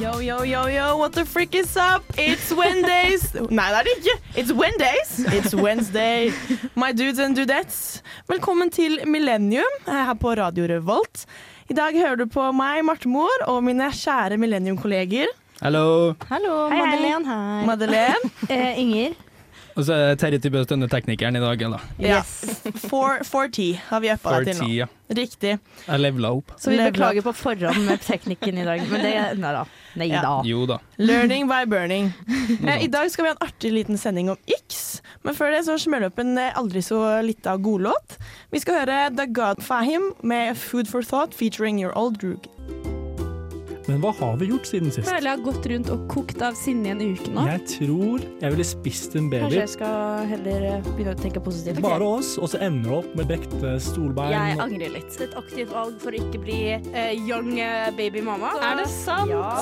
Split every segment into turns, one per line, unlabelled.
Yo, yo, yo, yo, what the frick is up? It's Wednesdays. Nei, det er det ikke. It's Wednesdays. It's Wednesday. My dudes and dudettes. Velkommen til Millennium eh, her på Radio Revolt. I dag hører du på meg, Martemor, og mine kjære Millennium-kolleger.
Hallo.
Hallo,
Hei, hei.
Madeleine her.
Madeleine.
Eh, Inger.
Og så er Terje Tybø Stønne teknikeren i dag. Eller?
Ja.
Yes.
4- 4T har vi uppa deg til nå.
ja.
Riktig.
Jeg levela opp.
Så vi
Level
beklager på forhånd med teknikken i dag, men det Nei da. Nei
Ja.
da.
Jo da.
Learning by burning. Eh, I dag skal vi ha en artig liten sending om X, men før det så smeller vi opp en eh, aldri så lita godlåt. Vi skal høre Dagad Fahim med 'Food for Thought' featuring Your Old Droog.
Men hva har vi gjort siden sist?
føler jeg har gått rundt og kokt av sinne i en uke nå.
Jeg tror jeg ville spist en
Kanskje
baby.
jeg skal heller eh, begynne å tenke positivt.
Bare oss, og så ender det opp med brekte
Jeg
stolbein.
angrer litt. Et aktivt valg for å ikke bli eh, young baby mamma.
Er det sant?
Ja.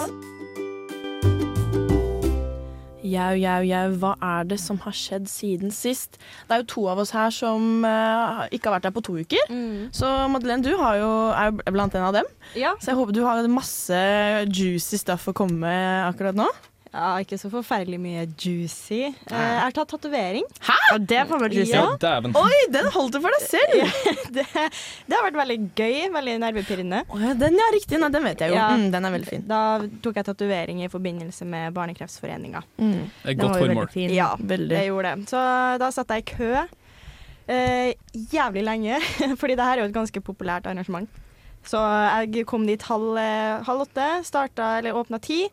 Jau, jau, jau, hva er det som har skjedd siden sist? Det er jo to av oss her som eh, ikke har vært her på to uker.
Mm.
Så Madeleine, du har jo, er jo blant en av dem.
Ja.
Så jeg håper du har masse juicy stuff å komme med akkurat nå.
ja, ikke så forferdelig mye juicy. Eh, jeg har tatt tatovering.
Og det får meg juicy.
Ja,
Ja.
dæven.
Oi, den holdt du for deg selv!
Det, det har vært veldig gøy, veldig nervepirrende.
Å ja, den ja, riktig. Nei, den vet jeg jo.
Ja.
Mm, den er veldig fin.
Da tok jeg tatovering i forbindelse med Barnekreftforeninga.
Et
Den
godt
var jo
formål.
veldig fin.
Ja,
Mm. Veldig.
jeg gjorde det. Så da satt jeg i kø eh, jævlig lenge, fordi det her er jo et ganske populært arrangement. Så jeg kom dit halv, eh, halv åtte, starta eller åpna ti.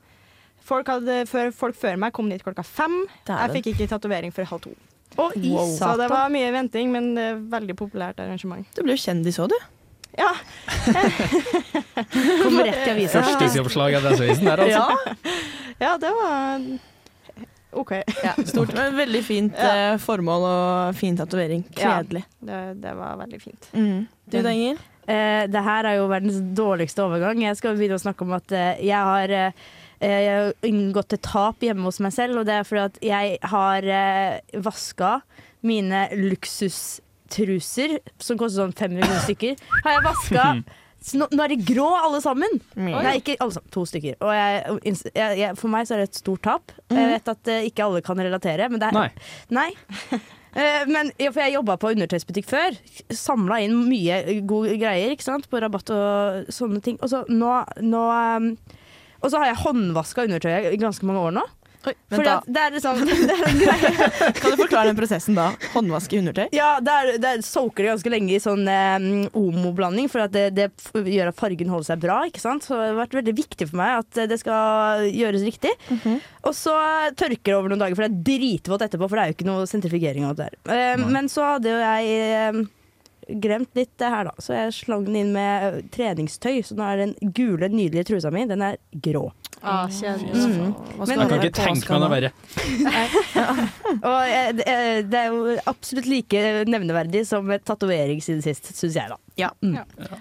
Folk, hadde, før, folk før meg kom dit klokka fem. Jeg fikk ikke tatovering før halv to.
Og i
Wow.
Så det
satan.
var mye venting, men det er veldig populært arrangement.
Du ble jo kjendis òg, du.
Ja,
Kom rett i avisa.
Førstesidsoppslag i Adresseavisen der, altså.
ja det var eh, OK.
Stort, men veldig fint eh, formål og fin tatovering.
Ja.
Kledelig.
Det, det var veldig fint.
Mm. Du da, Inger?
Eh, det her er jo verdens dårligste overgang. Jeg skal begynne å snakke om at eh, jeg har eh, eh, jeg har inngått et tap hjemme hos meg selv, og det er fordi at jeg har eh, vaska mine luksustruser, som koster sånn 500 kroner stykker, har jeg vaska Så nå, nå er de grå, alle sammen. Mm. Nei, ikke alle sammen. To stykker. Og jeg, inns- jeg, jeg, for meg så er det et stort tap. Jeg vet at eh, ikke alle kan relatere, men det er
Nei.
Nei. Eh, Men, ja, for jeg jobba på undertøysbutikk før. Samla inn mye gode greier ikke sant? på rabatt og sånne ting. Og så nå, nå ehm, Og så har jeg håndvaska undertøy i ganske mange år nå.
Mm. Vent
Fordi
da.
at det er liksom det er en greie.
Kan du forklare den prosessen da? Håndvaske undertøy?
Ja, det, er, det er, soaker det ganske lenge i sånn ehm, omoblanding, for at det, det f- gjør at fargen holder seg bra. ikke sant? Så det har vært veldig viktig for meg at eh, det skal gjøres riktig.
Mhm.
Og så tørker det over noen dager, for det er dritvått etterpå. For det er jo ikke noe sentrifugering av det der. Eh, men så hadde jo jeg eh, glemt litt det her, da. Så jeg slang den inn med eh, treningstøy. Så nå er den gule, nydelige trusa mi, den er grå.
Ah,
Mm.
Hva
Men-
Jeg
du
kan
være
ikke tenke
påska
meg
nå?
noe verre.
Og eh, det eh, det er jo absolutt like nevneverdig som et tatovering siden sist, syns jeg, da.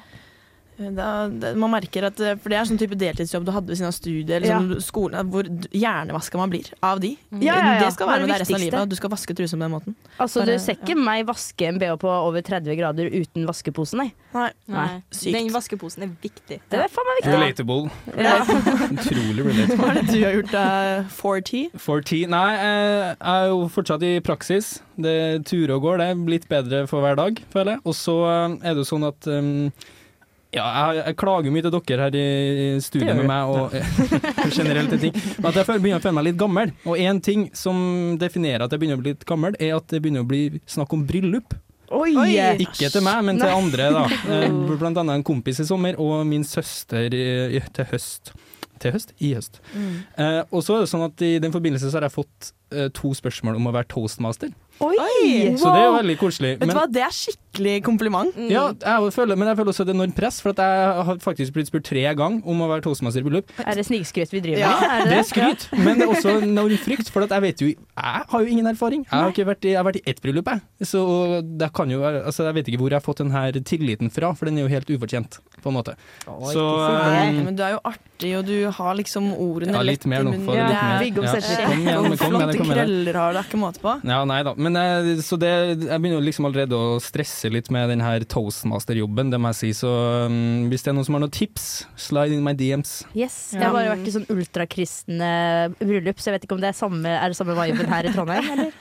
Da, det- man merker at eh, For det er sånn type deltidsjobb du hadde ved siden av studiet eller
Ja.
sånn skolen, at hvor d- hjernevaska man blir av de.
Ja, ja, ja.
Det skal
Det er
være med
det
deg resten av
viktigste.
livet. At du skal vaske trusa på den måten.
Altså,
Bare-
du ser ikke meg vaske en bh på over 30 grader uten vaskepose, nei.
Nei.
Nei,
sykt.
Den vaskeposen er viktig.
Det er faen meg viktig.
Relatable.
Ja.
Utrolig relatable.
Hva er det du har gjort av 4T?
For ti Nei, eh, jeg er jo fortsatt i praksis. Det turer og går, det. Litt bedre for hver dag, føler jeg. Og så eh, er det jo sånn at eh, Ja, jeg, jeg klager mye til dere her i i studio
Det
med
gjør du.
meg og generelt til ting. Men at jeg føler- begynner å føle meg litt gammel. Og én ting som definerer at jeg begynner å bli litt gammel, er at det begynner å bli snakk om bryllup.
Oi!
Oi.
Ikke til meg, men til andre, da. Eh, Blant annet en kompis i sommer, og min søster i, i, til høst. Til høst? I høst. Eh, og så er det sånn at i den forbindelse så har jeg fått eh, to spørsmål om å være toastmaster.
Oi!
Så det er jo veldig koselig.
Vet du hva, det er skikkelig kompliment.
ja, jeg føler, men jeg føler også et enormt press, for at jeg har faktisk blitt spurt tre ganger om å være toastmaster i bryllup.
Er det snikskryt vi driver med?
Ja.
Er det
Det
det?
er skryt, men det er også en enorm frykt, for at jeg vet jo Jeg har jo ingen erfaring. Jeg har, ikke vært, i, jeg har vært i ett bryllup, jeg. Så det kan jo, være- altså, jeg vet ikke hvor jeg har fått den her tilliten fra, for den er jo helt ufortjent. på en måte.
Oi,
Så
Nei,
um,
men du er jo artig, og du har liksom ordene
ja, litt mer nå. Få
Ja,
litt mer.
Viggo
Ja.
setter-
Kom igjen, men kom igjen,
Eh, Flotte
kom igjen.
krøller har du, det er ikke måte på.
Ja, nei da. Men eh, så det, jeg begynner jo liksom allerede å stresse litt med den her toastmaster-jobben, det må jeg si. Så um, hvis det er noen som har noen tips, slide in my DMs.
Yes. Jeg har bare vært i sånn ultrakristne bryllup, så jeg vet ikke om det er samme, er det samme viben her i Trondheim, eller?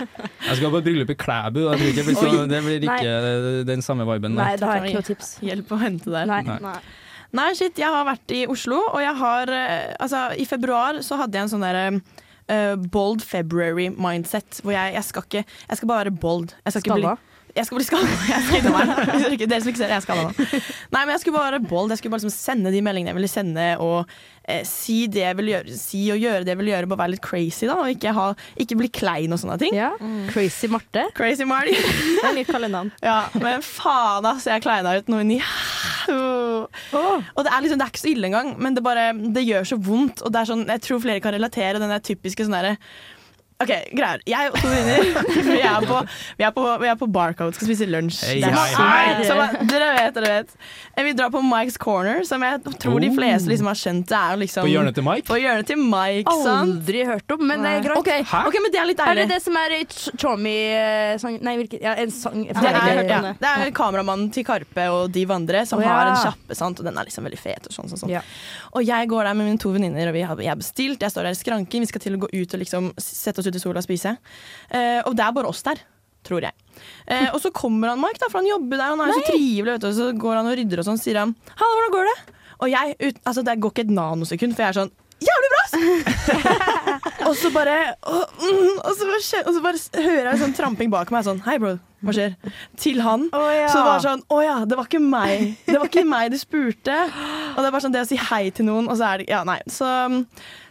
Jeg skal på et bryllup i Klæbu, og jeg tror ikke jeg blir så, det blir ikke den samme viben.
Nei, da har jeg ikke noe tips.
Hjelp å hente der.
Nei.
Nei.
Nei.
Nei, shit, jeg har vært i Oslo, og jeg har eh, Altså, i februar så hadde jeg en sånn derre eh, bold February mindset, hvor jeg, jeg skal ikke Jeg skal bare være bold. Jeg skal ikke bli
Skalla.
Jeg skal bli skalla. Jeg skal innom her. Hvis dere ikke- Dere som ikke ser, jeg er skalla nå. Nei, men jeg skulle bare være bold. Jeg skulle bare liksom sende de meldingene jeg ville sende, og eh, si det jeg ville gjøre, si og gjøre det jeg ville gjøre. Bare være litt crazy, da, og ikke, ha, ikke bli klein og sånne ting.
Ja. Crazy Marte.
Crazy Marty.
Det er nytt kallenavn.
Ja, men faen, ass. Jeg kleina ut noe inni Og det er liksom, det er ikke så ille engang, men det bare Det gjør så vondt. Og det er sånn, jeg tror flere kan relatere den der typiske sånn derre OK, greier. Jeg og to venninner vi, er på- vi, er på- vi er på Barcode, skal spise lunsj.
Hei,
Det er
hei,
så-
hei.
så bare- Dere vet, dere vet. Eh, Vi drar på Mike's Corner, som jeg tror de
Oh.
fleste liksom har skjønt. Det er jo liksom
På hjørnet til Mike?
På hjørnet til Mike, sant?
Aldri hørt om, men det er greit.
Ok, ok, men det er litt
Er det
deilig.
det som er i Ch- Chomi-sang Nei, hvilken ja, En sang
Det er,
Herregud.
ja, det er kameramannen til Karpe og de andre som
Å, ja.
har en kjappe, sant? og den er liksom veldig fet. Og sånn, sånn, sånn.
Ja.
Og jeg går der med mine to venninner, og vi har, jeg har bestilt, jeg står der i skranken, vi skal til å gå ut og liksom s- sette oss ut i sola og spise. Eh, og det er bare oss der, tror jeg. Eh, og så kommer han, Mark, da, for han jobber der, han er jo så trivelig, vet du, og så går han og rydder og sånn, sier han 'Halla, hvordan går det?' Og jeg, ut, altså det går ikke et nanosekund, for jeg er sånn Jævlig bra! ass!» og så bare og, mm, og, så bare, skje- og så bare s- hører jeg sånn tramping bak meg sånn Hei, bro. Hva skjer? Til han. Så det var sånn Å ja, det var ikke meg. Det var ikke meg du spurte. Og det er bare sånn det å si hei til noen, og så er det Ja, nei. Så,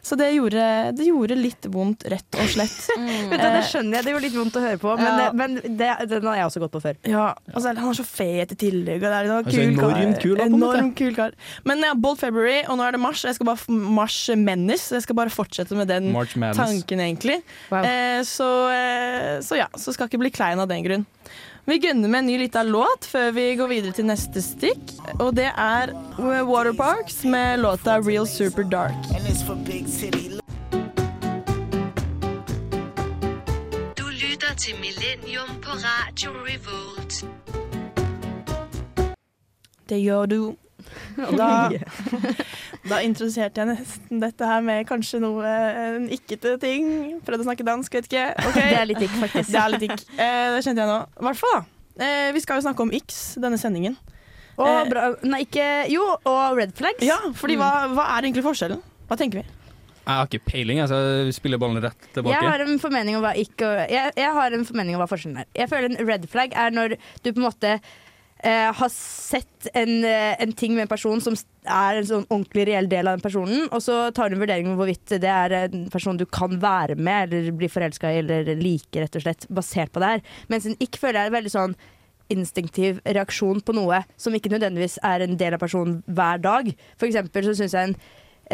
så det, gjorde, det gjorde litt vondt, rett og slett.
Mm.
Eh,
Vet du, det skjønner jeg, det gjorde litt vondt å høre på, men,
Ja.
det- men det, den har jeg også gått på før.
Ja, og så er han er så fet i tillegg. Og det er det var
Altså,
kul kar.
enormt kul, da, på en måte.
Enormt kul kar. Men ja, Bold February, og nå er det mars. og Jeg skal bare f- Mars Menace. så Jeg skal bare fortsette med den
March Madness.
tanken, egentlig.
Wow.
Eh, så, eh, så ja, så skal ikke bli klein av den grunn. Vi gønner med en ny lita låt før vi går videre til neste stikk. Og det er Waterparks med låta 'Real Super Dark'.
Du lytter til Millennium på Radio Revolt.
Det gjør du. Og Da, da introduserte jeg nesten dette her med kanskje noe eh, en ikkete ting. Prøvde å snakke dansk, vet ikke. Ok.
Det er litt digg, faktisk.
Det er litt ikk. Eh, det kjente jeg nå. I hvert fall, da. Eh, vi skal jo snakke om X, denne sendingen.
Og bra, nei, ikke Jo, og red flags.
Ja, fordi hva, hva er egentlig forskjellen? Hva tenker vi?
Jeg har ikke peiling, altså. Jeg spiller ballen rett tilbake.
Jeg har en formening om hva ikke jeg, jeg har en formening om hva forskjellen er. Jeg føler en red flag er når du på en måte eh, har sett en, eh, en ting med en person som s- er en sånn ordentlig reell del av den personen, og så tar du en vurdering om hvorvidt det er en person du kan være med eller bli forelska i eller like, rett og slett, basert på det her. Mens en ikke føler jeg er veldig sånn instinktiv reaksjon på noe som ikke nødvendigvis er en del av personen hver dag. For eksempel så syns jeg en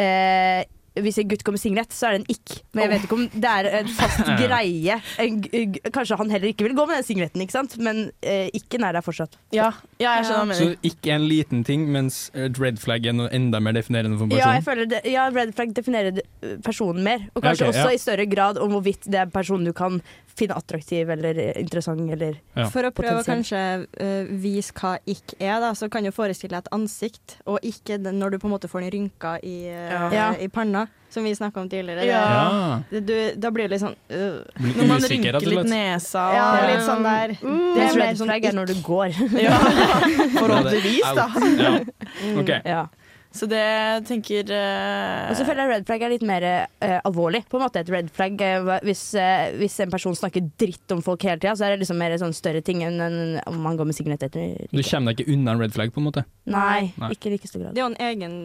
eh, hvis en gutt kommer med singlet, så er det en ikk. Men jeg vet ikke om det er en fast greie. En, g- g- kanskje han heller ikke vil gå med den singleten, ikke sant? men eh, ikken er der fortsatt.
Ja, jeg skjønner hva du
Så
mener.
ikke en liten ting, mens et red flag er noe enda mer definerende for en
Ja, jeg
person.
føler det, ja, red flag definerer d- personen mer. Og kanskje
Ja, ok,
også
ja.
i større grad om hvorvidt det er en person du kan finne attraktiv eller eh, interessant. Eller.
Ja.
For å prøve å kanskje
Potensielt.
eh, vise hva ikk er, da, så kan du forestille deg et ansikt, og ikke den, når du på en måte får den rynka i, eh,
Ja.
i panna, som vi snakka om tidligere.
Ja.
Ja.
Det, du, da blir det litt sånn øh.
Blir
Når man
usikker, rett
rynker
og
litt
slett.
nesa og
Ja, litt sånn der.
Det
Det er
er
mer
red
sånn
flag er når du går.
Ja, Forhåpentligvis, da.
Ja. Ok.
ja.
Så det jeg tenker eh,
Og så føler jeg red flag er litt mer eh, alvorlig. På en måte et red flag eh, hva- hvis, eh, hvis en person snakker dritt om folk hele tida, så er det liksom mer sånn større ting enn enn om man går med singlet etter.
Du kommer deg ikke unna en red flag, på en måte.
Nei,
Nei.
ikke i like stor grad.
Det er jo en egen,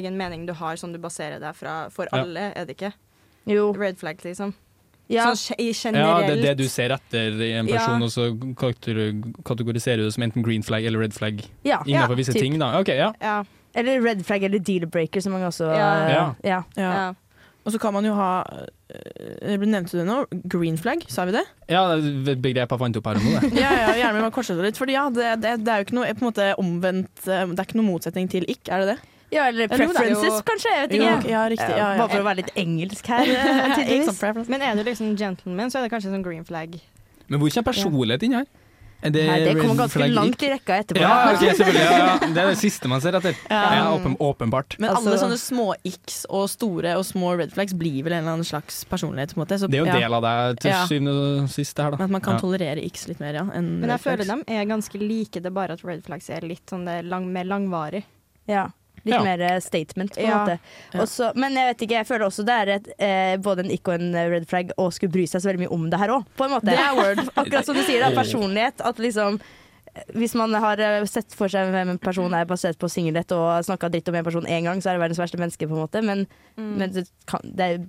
egen mening du har som du baserer deg fra for
Ja.
alle, er det ikke?
Jo.
Red flag, liksom.
Ja.
Sånn ge- i
Ja,
generelt.
det er det du ser etter i en person,
Ja.
og så kategor- kategoriserer du det som enten green flag eller red flag
ja.
innenfor visse
typ.
ting, da. Ok, ja.
Ja,
Eller red flag eller deal breaker, som mange også
Ja.
eh,
Ja.
ja.
ja.
ja.
Og så kan man jo ha eh, Nevnte du det nå? Green flag, sa vi det?
Ja, det er et begrep jeg fant opp her og nå. det.
Ja, ja, gjerne med korset litt. Fordi ja, det, det, det er jo ikke noe på en måte omvendt eh, Det er ikke noe motsetning til ikk, er det det?
Ja,
Eller jo,
eller
det er jo-
preferences, kanskje. Jeg vet ikke.
ja riktig. Ja, ja.
Bare for å være litt engelsk her. eh,
Ikke
tydeligvis.
sant, preference.
Men er du liksom gentleman, så er det kanskje sånn green flag.
Men hvor kommer personlighet inn her? Er det
Nei, det kommer
red
ganske
flag
langt i rekka etterpå.
Ja, ok, selvfølgelig. Ja, ja. Det er det siste man ser etter. Ja, åpen, åpenbart.
Men alle
Altså-
sånne små x og store og små red flags blir vel en eller annen slags personlighet. på en måte. Så,
Det er jo
ja.
en del av deg til
Ja.
syvende og sist. det her da.
Men at man kan
Ja.
tolerere x litt mer, ja. enn
Men
red
jeg føler
flags.
dem er ganske like, det er bare at red flags er litt sånn det er lang, mer langvarig.
Ja. Litt
Ja.
mer eh, statement, på en
Ja.
måte.
Ja.
Også, men jeg vet ikke, jeg føler også det er et, eh, både en ikk og en eh, red flag å skulle bry seg så veldig mye om det her òg, på en måte.
Det er word.
Akkurat som du sier, da,
Åh.
personlighet. At liksom eh, hvis man har eh, sett for seg hvem en person er basert på singelhet og snakka dritt om en person én gang, så er det verdens verste menneske, på en måte. Men,
Mm.
Mm.
men det kan, det er,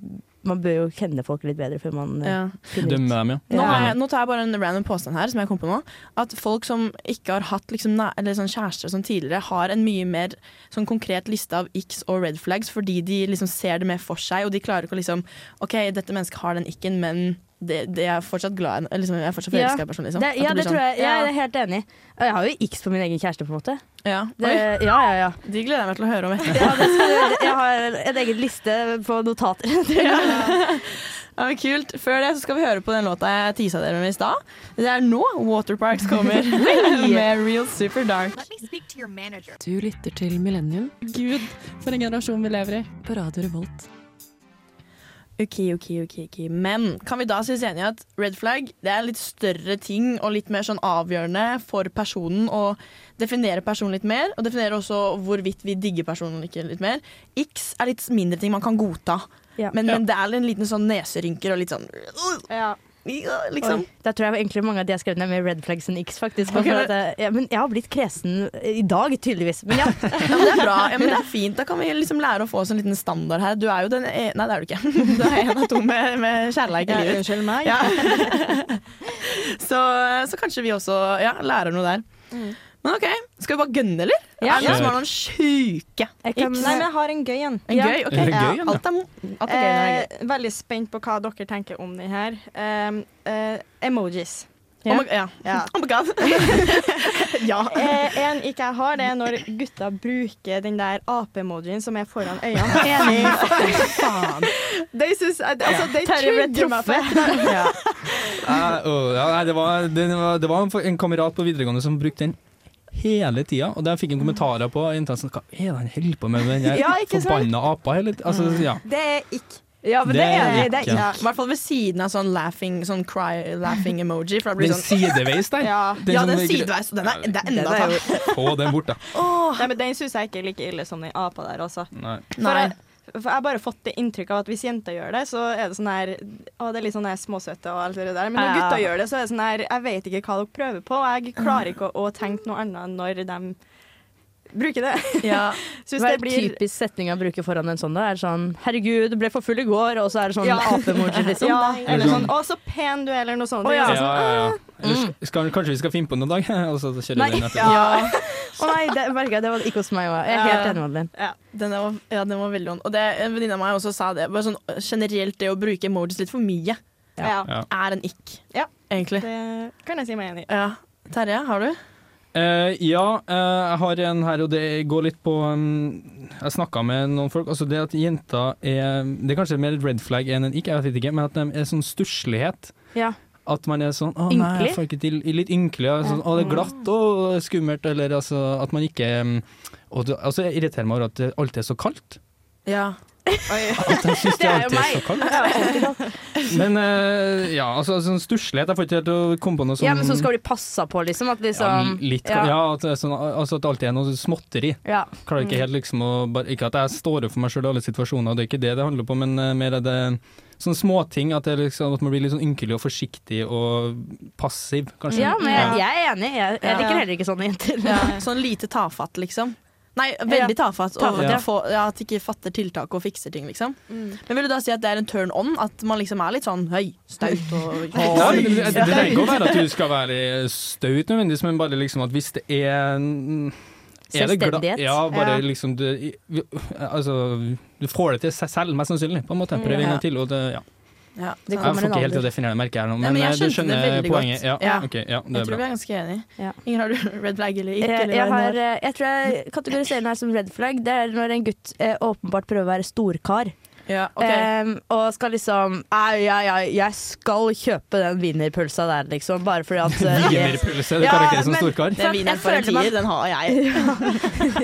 man bør jo kjenne folk litt bedre før man eh,
Ja.
finner ut.
Dømme dem, ja.
Nå,
Ja.
er, nå tar jeg bare en random påstand her, som jeg kom på nå. At folk som ikke har hatt liksom, næ- eller sånn kjærester som tidligere, har en mye mer sånn konkret liste av x og red flags, fordi de liksom ser det mer for seg, og de klarer ikke å liksom OK, dette mennesket har den ikken, men det, det er fortsatt glad i- eller liksom, Jeg er fortsatt
Ja.
forelska i personen, liksom.
Det,
At
ja,
blir
det tror jeg.
Ja.
Jeg er helt enig. Og Jeg har jo x på min egen kjæreste, på en måte.
Ja.
Det,
Oi,
ja, ja, ja.
de gleder jeg meg til å høre om etterpå.
Ja, det skal jeg, jeg har en egen liste på notater.
Ja, men kult. Før det så skal vi høre på den låta jeg tisa dere med i stad. Det er nå Waterparks kommer med Real Super Dark.
Du lytter til Millennium
Gud, for en generasjon vi lever i.
på Radio Revolt.
Ok, ok, ok. ok. Men kan vi da synes enige i at red flag det er litt større ting og litt mer sånn avgjørende for personen å definere personen litt mer, og definere også hvorvidt vi digger personen eller ikke litt mer. X er litt mindre ting man kan godta,
Ja.
men, men det er en liten sånn neserynker og litt sånn
Ja.
liksom.
Da tror jeg egentlig mange av de jeg har skrevet ned med red flags and x, faktisk.
Ok,
For at jeg, ja, men jeg har blitt kresen i dag, tydeligvis. Men ja,
Ja, men det er bra. Ja, men det er fint. Da kan vi liksom lære å få oss en liten standard her. Du er jo den e Nei, det er du ikke. Du er en av to med, med kjærleik i livet.
Unnskyld meg.
Ja. Så, så kanskje vi også ja, lærer noe der. Men OK, skal vi bare gønne, eller?
Ja.
Er det noen som har noen sjuke
jeg
Ikke-
kan,
Nei, men jeg har en gøy en.
En
Ja.
gøy? OK.
Er det
Ja.
gøy, eller?
Alt er, mo- alt er gøy når det er
Eh,
gøy.
veldig spent på hva dere tenker om den her. Um, eh, emojis.
Oh my, ja.
Ja.
Oh my god. ja.
Eh, en ikke jeg har, det er når gutta bruker den der ape-emojien som er foran øynene.
De syns Altså, de
Terje ble truffet.
Ja.
Eh, å, ja, nei, det, var, det, var, det var en- en kamerat på videregående som brukte den hele tida, og der fikk jeg kommentarer på jenta sånn, Hva er det han holder på med med den der
Ja, ikke sant?
forbanna apa hele tida? Altså, ja.
Det er ikke.
ja, men det er jeg enig. i. Det
ikke-
er
I hvert fall ved siden av sånn laughing, sånn cry laughing emoji. For da blir
Den
det sånn
sideveis der.
Ja.
Ja,
som
den
ligger-
sideveis. og Den er, det er enda
Den er jo-
Få den bort, da.
Nei, men Den syns jeg ikke er like ille som den apa der, altså.
Nei.
For jeg, for jeg har bare fått det inntrykk av at hvis jenter gjør det, så er det sånn her Å, det er litt sånn her småsøte og alt det der. Men når
Ja.
gutta gjør det, så er det sånn her Jeg vet ikke hva dere prøver på, og jeg klarer ikke å, å tenke noe annet enn når de bruker det.
Ja.
Så hvis
Hva
det
er
blir
typisk setning å bruke foran en sånn? da? Er det sånn 'herregud, ble for full i går', og så er det sånn
Ja.
ape-emoji, liksom?
ja, eller
Sånn.
sånn Å, så pen du er, eller noe sånt.
Å, ja.
Ja,
Liksom.
ja, ja. Eller Skal, kanskje vi skal finne på noen dag, og så kjører
Nei.
vi den etter.
Ja. Å nei, det merka jeg. Det var ikke hos meg òg. Jeg er helt
Ja.
enig med Adeline.
Den der var, ja, den var veldig ond. Og det, En venninne av meg også sa det. Bare sånn, generelt det å bruke emojis litt for mye
Ja.
Ja.
er en ick,
Ja.
egentlig.
Det kan jeg si meg enig i.
Ja. Terje, har du?
Eh, ja, eh, jeg har en her, og det går litt på mm, Jeg snakka med noen folk. Altså det at jenter er Det er kanskje mer et red flag enn en ikke, jeg vet ikke, men at de er sånn stusslighet.
Ja.
At man er sånn Å, nei,
Ynkelig?
jeg får ikke til Litt ynkelig. ja, Sånn, å, det er glatt og skummelt, eller altså At man ikke mm, og det, altså, Jeg irriterer meg over at det alltid er så kaldt.
Ja.
At jeg syns det
er jo
alltid er så kaldt. Men eh, ja, altså sånn stusslighet Jeg får ikke helt til å komme på noe sånn
Ja, men så skal du passe på, liksom. At
ja,
liksom
litt, ja. at, det er sånn, altså, at det alltid er noe småtteri.
Ja.
Klarer ikke helt liksom å bare, Ikke at jeg står opp for meg sjøl i alle situasjoner, det er ikke det det handler på, men eh, mer er det sånne småting. At, det liksom, at man blir litt sånn ynkelig og forsiktig og passiv, kanskje.
Ja, men jeg, jeg er enig. Jeg, jeg
Ja.
liker heller ikke sånne jenter.
Sånn lite tafatt, liksom. Nei, veldig tafatt. Og
Tafatt,
at,
ja.
jeg får, ja, at de ikke fatter tiltak og fikser ting, liksom.
Mm.
Men vil du da si at det er en turn on? At man liksom er litt sånn høy, staut og
Nei, men det det trenger ikke å være at du skal være staut nødvendigvis, men bare liksom at hvis det er en- Er det gla-
Selvstendighet.
Ja, bare
Ja.
liksom du, i- vi- Altså, du får det til seg selv, mest sannsynlig, på en måte. Prøv en
Ja.
gang til, og det ja.
Ja.
Det
Jeg
kommer
får
en
ikke helt til å
alder.
definere det merket her nå,
Nei,
men,
men jeg
eh, du
skjønte det
skjønner
veldig
poenget.
godt.
Ja,
Ja.
ok, ja, det
Jeg
er
tror vi
bra.
er ganske enige.
Ja.
Ingen har du red flag eller ikke?
Jeg,
Eller
jeg,
hva
har,
enn det
eh, jeg tror jeg kategoriserer den her som red flag. Det er når en gutt eh, åpenbart prøver å være storkar.
var. Ja, ok.
Em, og skal liksom Au, ja, ja, jeg skal kjøpe den wienerpølsa der, liksom. Bare fordi at eh, det-
Wienerpølse, det
Ja,
karakteriserer som
men-
storkar.
Den vineren
jeg
for en
føler meg-
tier, den har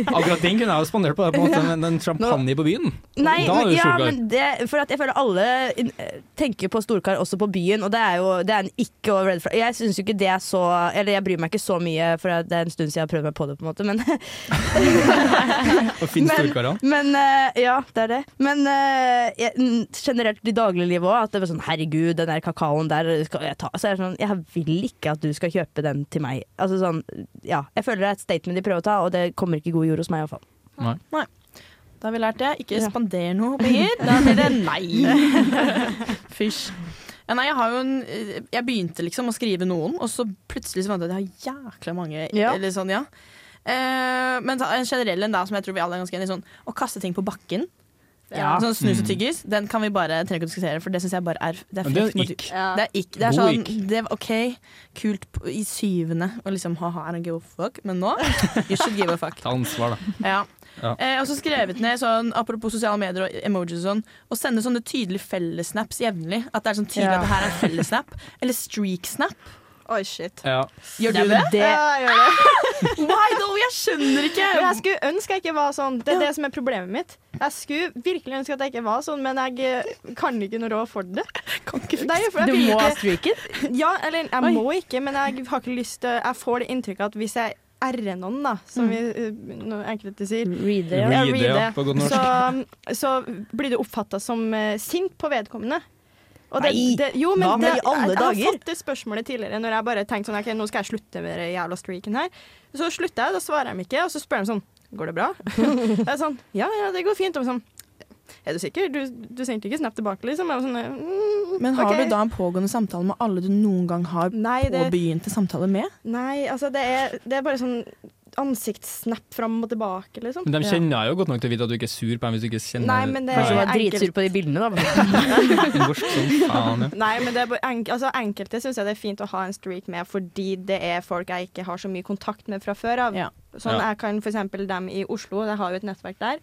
jeg.
Akkurat den kunne jeg jo spandert på deg, på en måte, men den champagne på byen
Nei,
Da er
men,
du
ja,
storkar.
men det, for at jeg føler alle eh, tenker på storkar også på byen, og det er jo det er en ikke og red flag. Jeg syns jo ikke det er så Eller jeg bryr meg ikke så mye, for det er en stund siden jeg har prøvd meg på det, på en måte, men
og finne
Men-
storkarene.
Men eh, ja, det er det. Men eh, jeg- n- generelt i dagliglivet òg. At det var sånn herregud, den der kakaoen der skal jeg ta. Så jeg, er sånn, jeg vil ikke at du skal kjøpe den til meg. Altså sånn, ja. Jeg føler det er et statement de prøver å ta, og det kommer ikke i god jord hos meg iallfall.
Da har vi lært det. Ikke
Ja.
spander noe penger. Da blir det nei. Fysj. Ja, nei, jeg, har jo en, jeg begynte liksom å skrive noen, og så plutselig så fant jeg at jeg har jækla mange.
Ja.
Eller sånn, ja. Eh, men ta- en generell en da, som jeg tror vi alle er ganske enige i, sånn, å kaste ting på bakken.
Ja.
Sånn snus og tyggis, den kan vi bare trenger ikke å diskutere, for det syns jeg bare er Det er
Mm. Men det
frekt mot-
gikk.
Det er ikke, det er
God
sånn,
ikk.
det var OK, kult p- i syvende og liksom ha-ha, I don't give a fuck, men nå You should give a fuck.
Ta ansvar, da.
Ja.
Ja.
Eh, og så skrevet ned sånn, apropos sosiale medier og emojis og sånn, å sende sånne tydelige fellessnaps jevnlig. At det er sånn tydelig
Ja.
at det her er en fellessnap. Eller streaksnap.
Oi, shit.
Ja.
Gjør
Ja,
du
men
det?
Ja, jeg gjør det.
Why though? Jeg skjønner ikke!
Men jeg skulle ønske jeg ikke var sånn. Det er det som er problemet mitt. Jeg skulle virkelig ønske at jeg ikke var sånn, men jeg eh, kan ikke noe råd for det.
kan ikke
Nei, for jeg
Du
vil
må
ikke-
ha streaken.
Ja, eller jeg
Oi.
må ikke, men jeg har ikke lyst til Jeg får det inntrykket at hvis jeg r-er noen, da,
Mm.
som vi, uh, noen enkelte sier
Read det, ja.
Ja,
Read det, ja,
read
på godt norsk.
så, um, så blir det oppfatta som eh, sint på vedkommende. Og det,
Nei,
det, jo, men
hva med
det,
i alle
jeg, jeg
dager?
har fått det spørsmålet tidligere når jeg bare tenkte sånn OK, nå skal jeg slutte med den jævla streaken her. Så slutter jeg, da svarer de ikke, og så spør de sånn Går det bra? jeg er sånn Ja, ja, det går fint. Og sånn Er du sikker? Du, du sendte ikke snap tilbake, liksom? Jeg var sånn, mm,
Men har
ok.
du da en pågående samtale med alle du noen gang har
Nei, det,
påbegynt en samtale med?
nei altså det er, det er bare sånn ansiktssnap fram og tilbake, liksom.
Men de kjenner deg jo godt nok til å vite at du ikke er sur på dem hvis du ikke kjenner
Nei, men det-
Kanskje du
Nei,
var dritsur på de bildene, da.
Norsk som faen, ja.
Nei, men det er bare enk altså, enkelte syns jeg det er fint å ha en streak med, fordi det er folk jeg ikke har så mye kontakt med fra før av.
Ja.
Sånn,
Ja.
jeg kan for eksempel dem i Oslo, jeg har jo et nettverk der.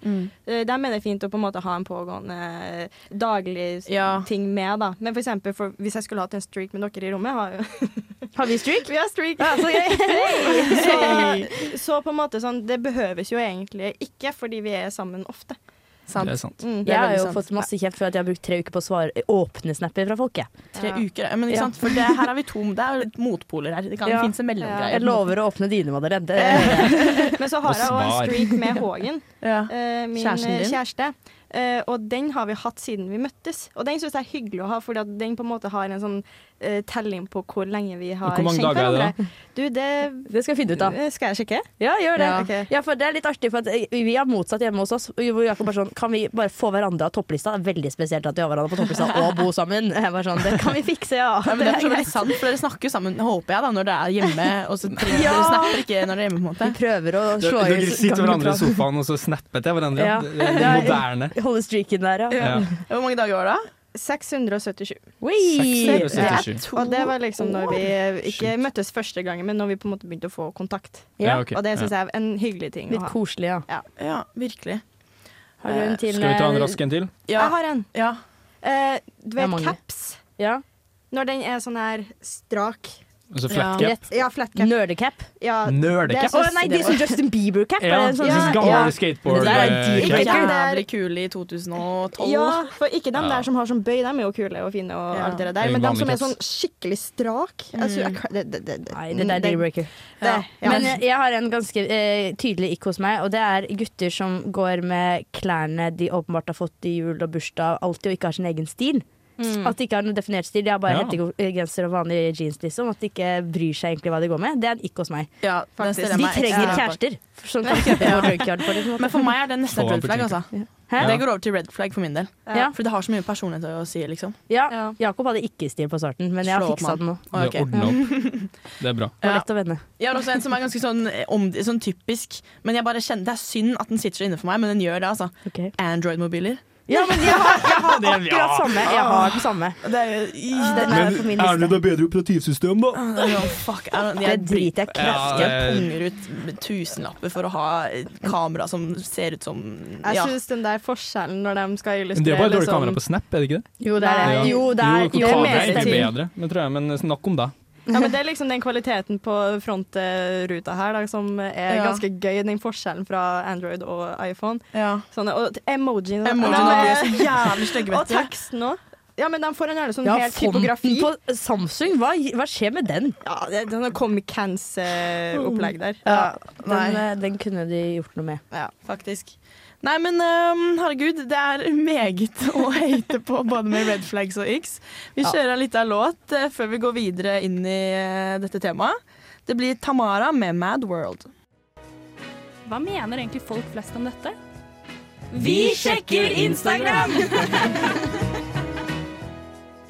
Eh, Dem er det fint å på en måte ha en pågående eh, daglig s-
Ja.
ting med, da. Men for eksempel for, hvis jeg skulle hatt en streak med dere i rommet, har jo
Har vi streak?
Vi har streak!
Ja, så gøy.
Så, så på en måte sånn, det behøves jo egentlig ikke, fordi vi er sammen ofte.
Det
Sant.
er sant.
Mm.
er
Jeg har
veldig
jo
sant.
fått masse kjeft for at jeg har brukt tre uker på å svare åpne snapper fra folk. jeg.
Tre
Ja.
uker, ja, men
Ja.
ikke sant? For det, her er vi to, det er jo motpoler her. Det kan
Ja.
finnes en mellomgreie.
Jeg lover å åpne dine, Madeleine. Det-
Eh, Men så har
Og
jeg òg en
svar.
streak med Hågen.
Ja.
Eh, min
Kjæresten
eh,
din?
kjæreste. Eh, og den har vi hatt siden vi møttes. Og den syns jeg er hyggelig å ha, fordi at den på en måte har en sånn eh, telling på hvor lenge vi har
Hvor mange
kjent
dager er det
hverandre. Du, det
Det skal jeg finne ut av.
eh, skal jeg sjekke.
Ja, gjør det.
Ja.
Ja.
Ok.
for det er litt artig, for at eh, vi har motsatt hjemme hos oss. Hvor Jakob bare sånn, Kan vi bare få hverandre av topplista? Det er veldig spesielt at vi har hverandre på topplista og bor sammen. Jeg bare sånn, Det kan vi fikse, ja.
Ja, men det er for
Det er
så vidt
greit.
sant, for dere snakker jo sammen, håper jeg, da, når dere er hjemme. Og så trenger
Ja.
dere snapper ikke når dere er hjemme, på en måte.
Prøver å slå i
Dere sitter hverandre i
gangen
sofaen og så snapper til hverandre.
Ja.
Det er
Ja.
moderne.
fra- Holde streaken der, ja.
Ja.
Hvor mange dager var det? da?
677.
Oi!
Sexy.
eh,
Ja.
77.
Og det var liksom når vi eh, ikke
Shit.
møttes første gangen, men når vi på en måte begynte å få kontakt.
Ja.
ok.
Og det
Ja.
syns jeg er en hyggelig ting å
Litt
ha.
koselig, ja.
Ja, virkelig.
Har du en til?
Skal vi ta en
eh,
rask en til?
Ja,
Jeg har en.
ja.
Eh, du
Det er
vet
mange.
caps?
Ja.
Når den er sånn her strak.
Og så flat cap.
Rett.
Ja, flat cap.
Nerdecap.
Ja,
Nerdecap.
Jeg
Å
synes
nei,
det
de som Justin Bieber-cap.
Ja,
er det en sånn-
sånn
Ja.
gammel skateboard.
Det der
eh,
er dyrt.
cap.
Ikke der-
Jævlig kule i 2012.
Ja, for ikke dem
Ja.
der som har sånn bøy, dem er jo kule og fine og
Ja.
alt det
Det
der.
er
Men dem
vanlig
som er
caps.
sånn skikkelig strak jeg tror jeg kan- det, det, det, det,
Mm. Nei, det der er deal-breaker.
det, ja.
Men jeg, jeg har en ganske eh, tydelig ikk hos meg, og det er gutter som går med klærne de åpenbart har fått i jul og bursdag, alltid og ikke har sin egen stil.
Mm.
At de ikke har noen definert stil. De har bare
Ja.
hettegenser og vanlige jeans. liksom At de ikke bryr seg egentlig hva de går med. Det er en ikke hos meg.
Ja, den
Faktisk.
stiller
De
jeg meg
trenger
ekstra bak.
kjærester som kan kjøpe noe drugcard for dem. på en måte.
Men for meg er det nesten et
Få
red flag. Altså.
Hæ?
Det går over til red flag for min del.
Ja.
For det har så mye personlighet å si, liksom.
Ja,
Ja.
Jakob hadde ikke stil på starten, men jeg har
Slå opp med
fiksa den nå.
Å,
Det
ok.
er ordna opp. Det er bra.
Det var
Ja.
lett å vende.
Jeg har også en som er ganske sånn, eh, om, sånn typisk, men jeg bare kjenner, det er synd at den sitter så inne for meg, men den gjør det, altså.
Ok.
Android-mobiler.
Ja, men jeg har, jeg har akkurat samme. Jeg har den samme.
Det er jo
Den er på
Ah.
min liste.
da bedre operativsystem, da?
Åh, fuck. Jeg, jeg,
Det
bryr-
driter jeg kraftig
Jeg
i.
punger ut tusenlapper for å ha et kamera som ser ut som
Jeg
ja.
syns den der forskjellen når de skal
Det er
illustrere
bare dårlig
liksom-
kamera på Snap, er det ikke det?
Jo, det er det.
Nei.
Jo, det er, jo,
kamera
mer
er egentlig
til.
bedre, men, tror jeg, men snakk om det.
Ja, men Det er liksom den kvaliteten på frontruta her da, som er
Ja.
ganske gøy. Den forskjellen fra Android og iPhone.
ja.
Sånne, og emojien og,
Emojiene
Nei,
blir så jævlig stygge,
og
vet du.
teksten òg. Ja, men de får en gjerne sånn
Ja,
helt typografi.
fonten på Samsung, hva, hva skjer med den?
Ja, det er sånn Comic
Oh.
Cans-opplegg der.
Den, eh, den kunne de gjort noe med.
Faktisk. Nei, men ehm, herregud, det er meget å hate på både med red flags og x. Vi
Ja.
kjører en liten låt eh, før vi går videre inn i eh, dette temaet. Det blir Tamara med Mad World.
Hva mener egentlig folk flest om dette?
Vi sjekker Instagram!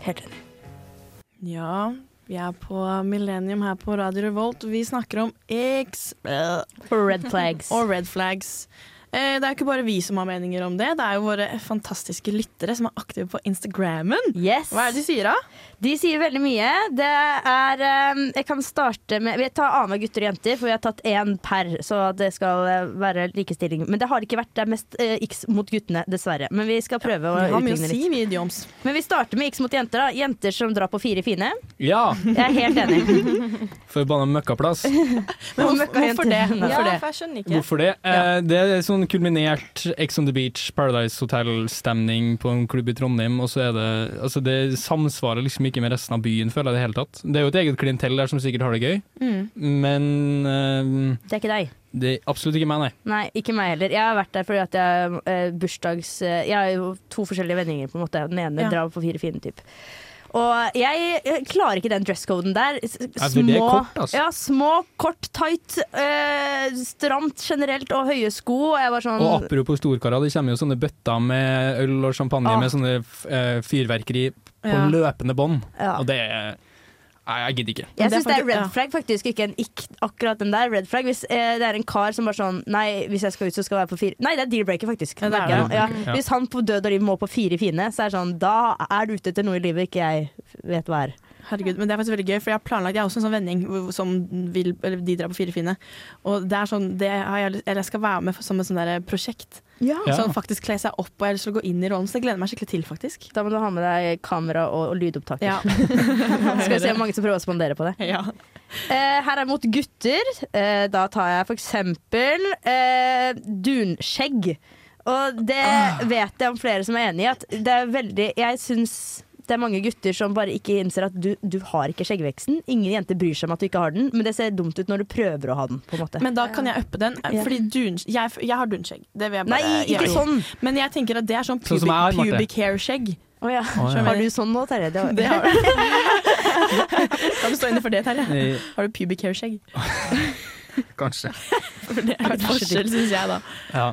Helt enig.
Ja, vi er på Millennium her på Radio Revolt. Vi snakker om X øh,
For red flags.
og red flags. Eh, Det er jo ikke bare vi som har meninger om det, det er jo våre fantastiske lyttere som er aktive på Instagrammen.
Yes.
Hva er det de sier, da?
De sier veldig mye. Det er eh, Jeg kan starte med Vi tar annenhver gutter og jenter, for vi har tatt én per, så det skal eh, være likestilling. Men det har ikke vært det er mest eh, X mot guttene, dessverre. Men vi skal prøve
Vi
å
har mye å
utligne
si,
litt.
vi idioms.
Men vi starter med X mot jenter. da Jenter som drar på fire fine.
Ja!
Jeg er helt enig.
Forbanna møkkaplass.
Men
Og
hvorfor, hvorfor det?
møkkajenter.
Hvorfor
Ja,
det?
for jeg skjønner ikke.
Hvorfor det? Eh, det er sånn kulminert Ex on the Beach, Paradise Hotel-stemning på en klubb i Trondheim, og så er det Altså, det samsvarer liksom ikke med resten av byen, føler jeg i det hele tatt. Det er jo et eget klientell der som sikkert har det gøy,
Mm.
men eh,
Det er ikke deg.
det er absolutt ikke meg, nei.
Nei, ikke meg heller. Jeg har vært der fordi at jeg eh, bursdags... eh, jeg har jo to forskjellige vendinger, på en måte. Den ene
Ja.
drar på fire fine typ. Og jeg eh, klarer ikke den dresscoden der. S-
for det er kort, altså.
ja, små, kort, tight, eh, stramt generelt og høye sko. Og jeg var sånn
Og apropos storkara, det kommer jo sånne bøtter med øl og champagne
Ah.
med sånne f- eh, fyrverkeri på
Ja.
løpende bånd,
ja.
og det er Nei, jeg gidder ikke.
Men det er
Jeg syns det er
faktisk- ja.
red flag, faktisk. Ikke en ikk, akkurat den der. Red flag Hvis eh, det er en kar som bare sånn Nei, hvis jeg skal ut, så skal jeg være på fire Nei, det er deal-breaker, faktisk.
Ja, det er
merker jeg nå.
det.
Ja.
Ja.
Hvis han på død og liv må på fire fine, så er det sånn Da er du ute etter noe i livet ikke jeg vet hva er.
Herregud, men det er faktisk veldig gøy, for jeg har planlagt Jeg har også en sånn vending hvor- som vil, eller de drar på Fire fine. Og det er sånn det har jeg, lyst- Eller jeg skal være med for- som et sånt der eh, prosjekt.
Ja.
Sånn faktisk kle seg opp, og jeg skal gå inn i rollen. Så det gleder jeg meg skikkelig til, faktisk.
Da må du ha med deg kamera og, og lydopptaker.
Ja.
Skal vi se hvor mange som prøver å spandere på det.
ja.
Eh, her er mot gutter. Eh, da tar jeg for eksempel eh, dunskjegg. Og det vet jeg om flere som er enig i. At det er veldig Jeg syns det er mange gutter som bare ikke innser at du, du har ikke skjeggveksten. Ingen jenter bryr seg om at du ikke har den, men det ser dumt ut når du prøver å ha den. på en måte
Men da kan jeg uppe den. eh,
Ja.
Fordi dun, jeg, jeg har dunskjegg. Det vil jeg
Nei,
bare
ikke
Jo.
sånn!
Men jeg tenker at det er sånn
Sånn
pubic,
som jeg har, Marte.
pubic hair-skjegg.
Å ja.
Å, ja.
Har du sånn nå, Terje? Det har-
Det har du. kan du stå inne for det, Terje?
Eh,
Har du pubic hair-skjegg?
Kanskje.
For det er et forskjell, syns jeg, da.
Ja.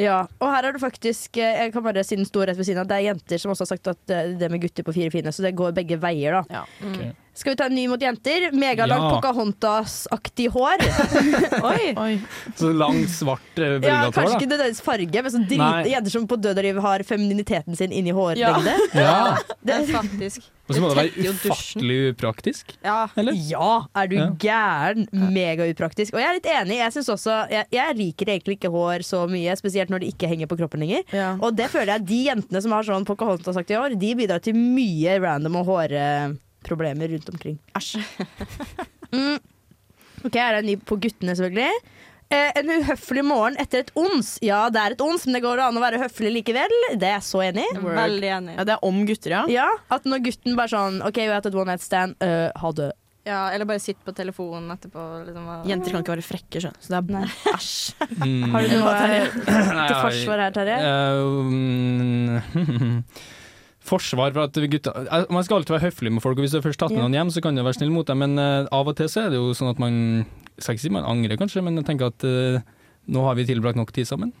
Ja, og her er det faktisk eh, Jeg kan bare si den store rett ved siden av Det er jenter som også har sagt at eh, det med gutter på fire fine Så det går begge veier da
Ja,
ok.
Skal vi ta en ny mot jenter? Megalang
Ja.
Pocahontas-aktig hår Oi
Oi.
Så langt, svart eh,
ja,
bølgat hår,
kanskje ikke
da.
nødvendigvis farge, men sånn
Nei.
drite jenter som på død og liv har femininiteten sin inni hårlengde.
Ja.
Det er faktisk
Og så må det
Det
være
trekker jo dusjen.
ufattelig upraktisk.
Ja.
Eller?
Ja, er du
Ja.
gæren? Megaupraktisk. Og jeg er litt enig. Jeg, synes også, jeg, jeg liker egentlig ikke hår så mye, spesielt når det ikke henger på kroppen lenger.
Ja.
Og det føler jeg de jentene som har sånn Pocahontas-aktig hår, de bidrar til mye random og hårproblemer rundt omkring. Æsj. mm. Ok, her er en ny på guttene, selvfølgelig. Eh, en uhøflig morgen etter et ons. Ja, det er et ons, men det går an å være høflig likevel. Det er jeg så enig i.
Veldig enig.
Ja, det er om gutter, ja.
Ja, At når gutten bare sånn OK, vi har hatt et one night stand. øh, ha det.
Ja, eller bare sitt på telefonen etterpå. Liksom, og-
Jenter kan ikke være frekke, skjønn. Så det er
Nei.
æsj.
Mm.
Har du noe
Terje?
til forsvar her, Terje?
Eh, mm, forsvar for at gutta eh, Man skal alltid være høflig med folk, og hvis du først har tatt med
Ja.
noen hjem, så kan du være snill mot dem, men eh, av og til så er det jo sånn at man Skal ikke si man angrer, kanskje, men jeg tenker at eh, nå har vi tilbrakt nok tid sammen.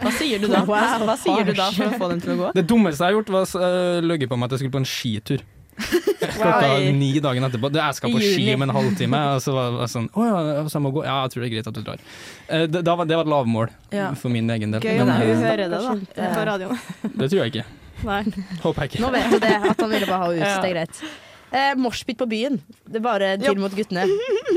Hva sier du da? Hva, hva sier du da for å få dem til å gå?
Det dummeste jeg har gjort, var å løye på meg at jeg skulle på en skitur. Klokka
Oi.
ni dagen etterpå. Det- Jeg skal på
I juli.
ski om en halvtime. Og så var jeg sånn Å ja, så jeg må gå. Ja, jeg tror det er greit at du drar. Eh, Det, da var, det var et lavmål
Ja.
for min egen del.
Gøy om
Men,
hun
eh,
hører det,
Kanskje
da.
ikke.
På radioen.
det tror jeg ikke.
Nei.
Håper jeg ikke.
Nå vet du det, at han ville bare ha ut.
Ja.
Det er greit. Eh, Moshpit på byen. Det er bare til
Ja.
mot guttene.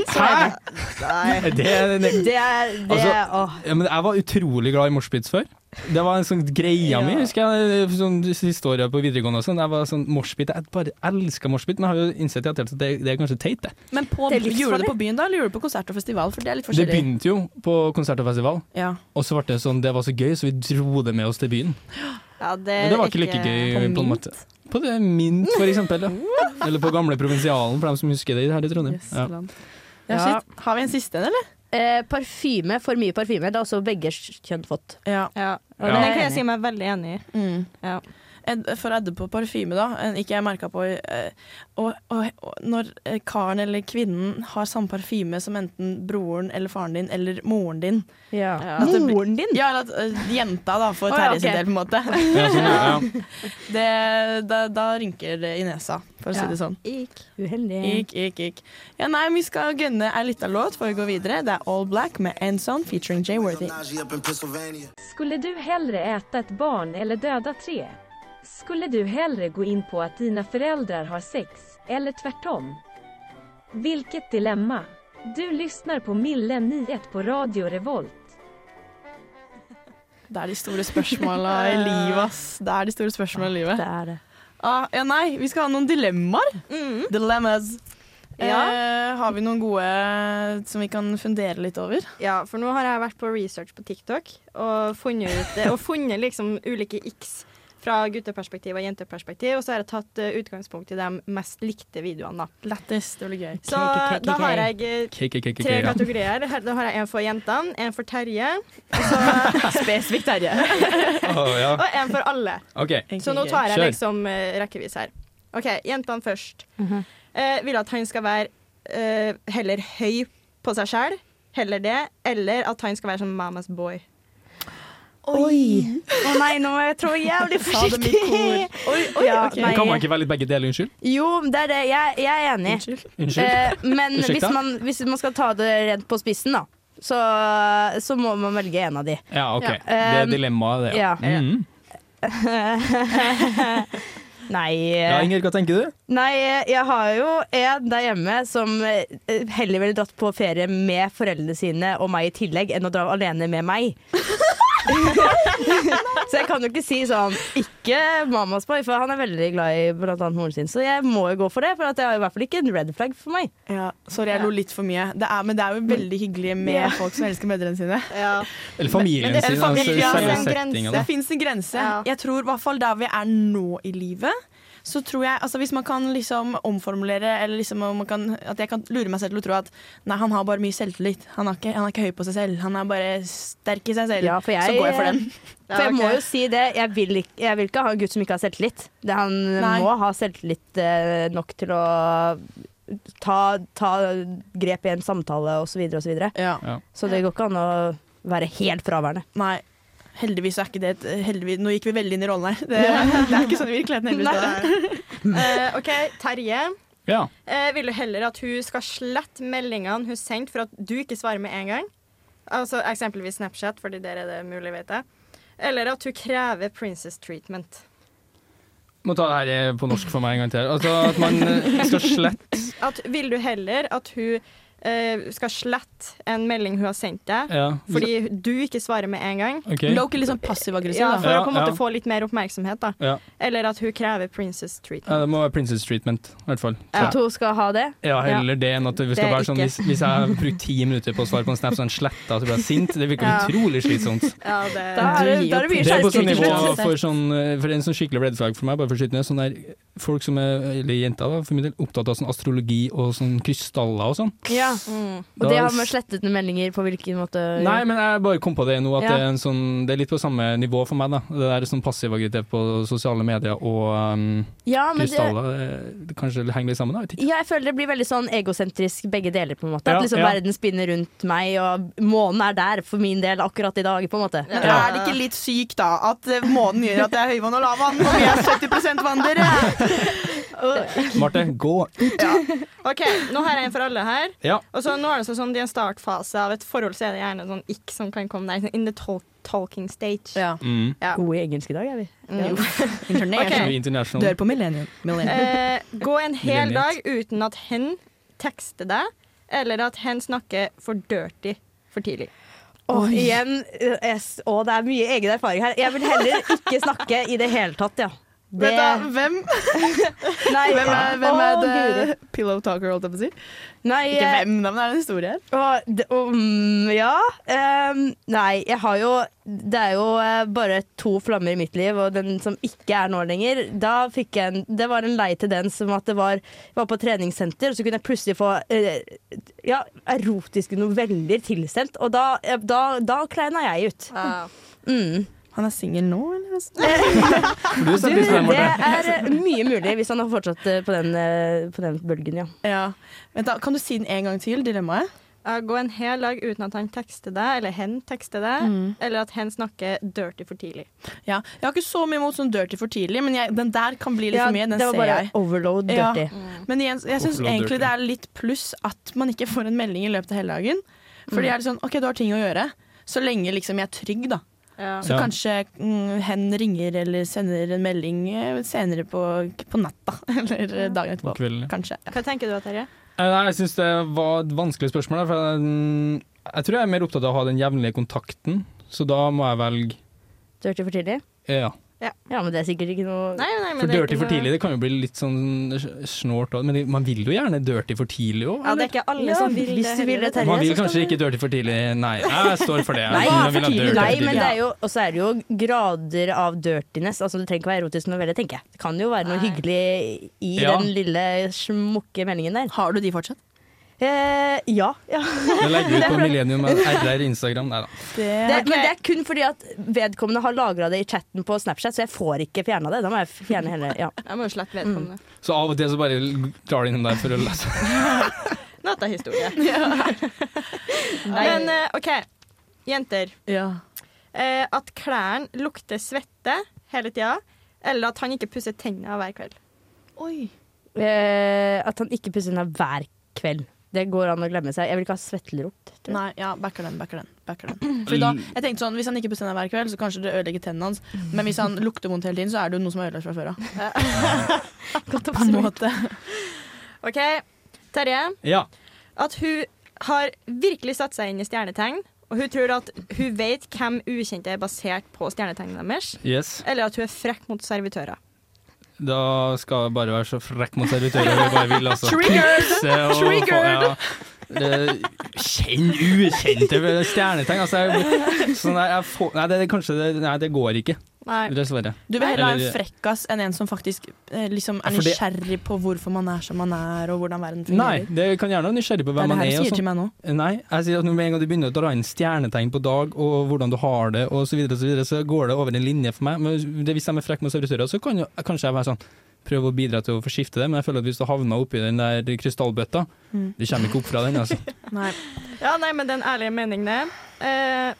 Hæ? Det, det,
Det er, det
Altså,
er åh.
ja, men jeg var utrolig glad i moshpits før. Det var en sånn greia mi, husker jeg. Sånn, de siste året på videregående og sånn. Jeg var sånn moshpit. Jeg bare elska moshpit, men jeg har jo innsett i ettertid at det, det er kanskje teit, det.
Men på,
Det er livsfarlig.
gjorde du det på byen da, eller gjorde du det på konsert og festival? For det er litt
Det
forskjellig.
begynte jo på konsert og festival.
Ja.
Og så ble det sånn, det var så gøy, så vi dro det med oss til byen.
Ja,
Men det var ikke like gøy, på en måte. På det Mint, for eksempel. Ja. Eller på gamle Provinsialen, for dem som husker det her i Trondheim. Ja.
Ja,
Ja.
shit. Har vi en siste en, eller?
Eh, parfyme, for mye parfyme. Det har også begge kjønn fått.
Ja.
Ja.
Ja.
Men det kan jeg si meg veldig enig i.
Mm.
Ja.
Ed- For Edde på parfyme, da. en- Ikke jeg merka på eh, og, og, og Når eh, karen eller kvinnen har samme parfyme som enten broren eller faren din eller moren din
Ja. altså,
At det blir-
Moren din?
Ja, eller at eh, jenta, da, for
Å, ja,
Terje sin
ok.
del, på en måte.
Ja, sånn, ja.
Det, da, da rynker det i nesa, for å si
Ja.
det sånn.
Uheldig.
Ikk, ikk, ikk. Ja, nei, vi skal gønne ei lita låt for å gå videre. Det er All Black med Enson featuring Jay Worthy.
Skulle du hellre äta ett barn eller döda tre? Skulle du hellre gå in på att dina föräldrar har sex, eller tvärtom? Vilket dilemma! Du lyssnar på Mille 9 på Radio Revolt.
Det er de store spørsmåla i livet, ass. Det er de store spørsmåla i livet.
Det er det.
Ah, ja, nei, vi skal ha noen dilemmaer.
Mm.
Dilemmas. Eh, har vi noen gode eh, som vi kan fundere litt over?
Ja, for nå har jeg vært på research på TikTok og funnet, ut, og funnet liksom ulike x fra gutteperspektiv og jenteperspektiv, og så har jeg tatt eh, utgangspunkt i de mest likte videoene. da.
Lættis, det blir gøy.
Så da har jeg eh,
KKKK,
tre
ja.
kategorier. Her- Da har jeg en for jentene, en for Terje
Spesifikt Terje.
Å, ja.
og en for alle.
Ok.
Så nå tar jeg
Kjør.
liksom eh, rekkevis her. OK, jentene først. eh, vil at han skal være eh, heller høy på seg sjøl, heller det, eller at han skal være sånn mamas boy.
Oi! Å nei, nå må jeg trå jævlig forsiktig.
Oi, oi,
Ja,
ok.
nei.
Kan man ikke være litt begge deler, unnskyld?
Jo, det er det. Jeg, jeg er enig.
Unnskyld.
Unnskyld.
Eh, men
Unnskyld,
hvis
da?
man, hvis man skal ta det rent på spissen, da, så, så må man velge en av de.
Ja, ok.
ja.
Det er
Um,
dilemmaet, det.
Ja.
Mm.
Nei,
Ja,
eh,
Inger, hva tenker du?
nei, eh, jeg har jo en der hjemme som eh, heller ville dratt på ferie med foreldrene sine og meg i tillegg, enn å dra alene med meg. så jeg kan jo ikke si sånn Ikke mammas boy, for han er veldig glad i blant annet moren sin. Så jeg må jo gå for det, for at det er i hvert fall ikke en red flag for meg.
Ja, sorry, jeg lo litt for mye. Det er, men det er jo veldig hyggelig med
Ja.
folk som elsker mødrene sine.
Ja.
Eller familien
Men det-
sin.
eller familien,
altså, selve
det
er en
settingen,
grense.
da.
Det fins en grense.
Ja.
Jeg tror i hvert fall der vi er nå i livet, så tror jeg altså Hvis man kan liksom omformulere, eller liksom om man kan, at jeg kan lure meg selv til å tro at nei, han har bare mye selvtillit. Han er ikke, han er ikke høy på seg selv. Han er bare sterk i seg selv.
Ja, for jeg-
så går jeg for den.
For jeg må jo si det, jeg vil ikke, jeg vil ikke ha en gutt som ikke har selvtillit. Det, han
Nei.
må ha selvtillit eh, nok til å ta, ta grep i en samtale osv. Så, videre, og så, videre.
Ja.
så det går ikke an å være helt fraværende.
Nei. Heldigvis så er ikke det et heldigvis, Nå gikk vi veldig inn i rollen her. Det, det er ikke sånn i virkeligheten. heldigvis.
Eh, OK, Terje.
Ja.
Eh, vil du heller at hun skal slette meldingene hun sendte for at du ikke svarer med en gang? Altså Eksempelvis Snapchat, fordi der er det mulig, vet jeg. Eller at hun krever princess treatment.
Må ta det her eh, på norsk for meg en gang til. Altså, at man eh, skal slette
At, vil du heller at hun eh, skal slette en melding hun har sendt deg,
Ja.
fordi du ikke svarer med en gang?
OK.
Men det er jo ikke litt sånn passiv-aggressiv,
Ja,
da.
For å på en måte
Ja, ja.
få litt mer oppmerksomhet, da.
Ja.
Eller at hun krever princess treatment.
Ja, det må være Princess Treatment, i hvert fall.
At hun skal ha det.
Ja, heller det enn at vi skal
Det er
være sånn
ikke.
hvis, hvis jeg har brukt ti minutter på å svare på en snap, så er den sletta og så blir jeg sint. Det virker
Ja.
utrolig slitsomt.
Ja, det,
Da er det, da er det mye
Det er på sånn
selvtillit.
nivå for, sånn, eh, for en sånn skikkelig red flag for meg, bare for å skyte ned, sånn der folk som er, eller jenter da, for min del, opptatt av sånn astrologi og sånn krystaller og sånn.
Ja. Og
Da-
det har med slettet meldinger på hvilken måte
Nei, men jeg bare kom på det nå, at
Ja.
det, er en sånn, det er litt på samme nivå for meg, da. Det der sånn passiv-aggressivitet på sosiale medier og um,
ja, men det,
krystaller, eh, det kanskje henger litt sammen, da? Jeg vet ikke.
ja, jeg føler det blir veldig sånn egosentrisk begge deler, på en måte.
Ja,
At liksom
ja.
verden spinner rundt meg, og månen er der for min del akkurat i dag, på en måte.
Men Er det ikke litt sykt, da, at eh, månen gjør at det er høyvann og lavvann, og vi er 70 vann, dere?
Marte, gå!
OK, nå har jeg en for alle her.
Ja.
Og så nå er det så sånn, I en startfase av et forhold så er det gjerne sånn ikk som kan komme der. sånn In the tol talking stage.
Ja.
Mm.
Gode i engelsk i dag, er vi.
Mm.
Så
Ok.
vi er international.
Dør på millennium. millennium.
Eh, gå en hel
Millennium.
dag uten at hen tekster deg, eller at hen snakker for dirty for tidlig.
Og igjen, eh, s- å, det er mye egen erfaring her. Jeg vil heller ikke snakke i det hele tatt, ja. Det,
Vent da, hvem,
nei,
hvem er, hvem er
Å, Guri.
det pillow talker, holdt jeg på å si?
Nei,
Ikke
eh,
hvem, da, men det er en historie her.
Og, d- og, mm, ja. ehm, nei, jeg har jo Det er jo eh, bare to flammer i mitt liv, og den som ikke er nå lenger Da fikk jeg en Det var en lei tendens som at det var Jeg var på treningssenter, og så kunne jeg plutselig få eh, ja, erotiske noveller tilsendt, og da, eh, da, da kleina jeg ut. Mm.
Han er singel nå, eller?
Du
Du,
setter pris på det,
det
Marte.
er eh, mye mulig, hvis han har fortsatt eh, på den, eh, på den bølgen, ja.
Ja. Vent da, Kan du si den en gang til, dilemmaet?
Eh, gå en hel dag uten at han tekster deg, eller hen tekster deg, eller at hen snakker dirty for tidlig.
Ja. Jeg har ikke så mye mot sånn dirty for tidlig, men jeg, den der kan bli litt for mye. Den
det var
ser
bare
jeg.
overload
Ja.
dirty.
Men igjen, jeg syns
Overload
egentlig
dirty.
det er litt pluss at man ikke får en melding i løpet av hele dagen. Fordi jeg er litt sånn OK, du har ting å gjøre. Så lenge liksom jeg er trygg, da. Så
Ja.
kanskje mm, hen ringer eller sender en melding eh, senere på, på natta. Eller eh, dagen etterpå.
På kvelden, ja.
Kanskje. Ja.
Hva tenker du, Terje?
Eh, Nei, jeg syns det var et vanskelig spørsmål. der, For jeg, mm, jeg tror jeg er mer opptatt av å ha den jevnlige kontakten, så da må jeg velge eh,
Dirty for tidlig?
ja.
Ja, men det er sikkert ikke noe
Nei, nei, men
For
det er
dirty
ikke
for
noe-
tidlig, det kan jo bli litt sånn sj- snålt også, men det- man vil jo gjerne dirty for tidlig òg.
Ja, det er ikke alle
Ja,
som vil
hvis du vil det, Terje.
Man vil
så skal
kanskje
du-
ikke dirty for tidlig, nei. Jeg står for det.
Nei,
Man vil ha dirty for
Nei, men
tidlig.
det er jo, og så er det jo grader av dirtiness. Altså, det trenger ikke være erotisk novelle, tenker jeg. Det kan jo være noe hyggelig i
Ja.
den lille smukke meldingen der.
Har du de fortsatt?
Eh, ja. ja.
Jeg legger ut på Millennium RR Instagram. Nei da.
Det, Men det er kun fordi at vedkommende har lagra det i chatten på Snapchat, så jeg får ikke fjerna det. Da må jeg fjerne hele ja.
Jeg må jo slette vedkommende.
Så av og til så bare drar det innom der for å lese.
Nå er det historie. Men eh, OK, jenter.
ja.
Eh, at klærne lukter svette hele tida, eller at han ikke pusser tennene hver kveld.
Oi.
eh, At han ikke pusser tenna hver kveld. Det går an å glemme seg. Jeg vil ikke ha svettelort. tror jeg.
Nei, ja, backer den, backer den. Backer den. Fordi da, jeg tenkte sånn, Hvis han ikke bestemmer hver kveld, så kanskje det ødelegger tennene hans. Men hvis han lukter vondt hele tiden, så er det jo noe som er ødelagt fra før av. På en måte.
OK, Terje.
Ja.
At hun har virkelig satt seg inn i stjernetegn, og hun tror at hun vet hvem ukjente er basert på stjernetegnene deres,
Yes.
eller at hun er frekk mot servitører.
Da skal jeg bare være så frekk mot servitører jeg bare vil, altså.
Triggered!
Se og få-
Triggered!
ja. Det- Kjenn ukjente stjernetegn. Altså, jeg, sånn der, jeg får, nei, det, er kanskje det, nei, det går ikke,
Nei.
dessverre.
Du vil heller ha en
Eller-
frekkas enn en som faktisk eh, liksom er
Ja, for det-
nysgjerrig på hvorfor man er som man er, og hvordan verden
Nei,
fungerer.
det kan gjerne være nysgjerrig på
det
hvem
er det
man
her du
er. Og
sier
sånn.
til meg nå.
Nei, jeg sier at når med en gang du begynner å dra inn stjernetegn på dag, og hvordan du har det, og så videre, og så, videre, så går det over en linje for meg. Men det, hvis de er frekke mot servitører, så kan jo kanskje jeg være sånn Prøve å bidra til å få skifte det, men jeg føler at hvis du havner oppi den der krystallbøtta,
Mm.
du kommer ikke opp fra den, altså.
Nei.
Ja, nei, men den ærlige meningen er eh,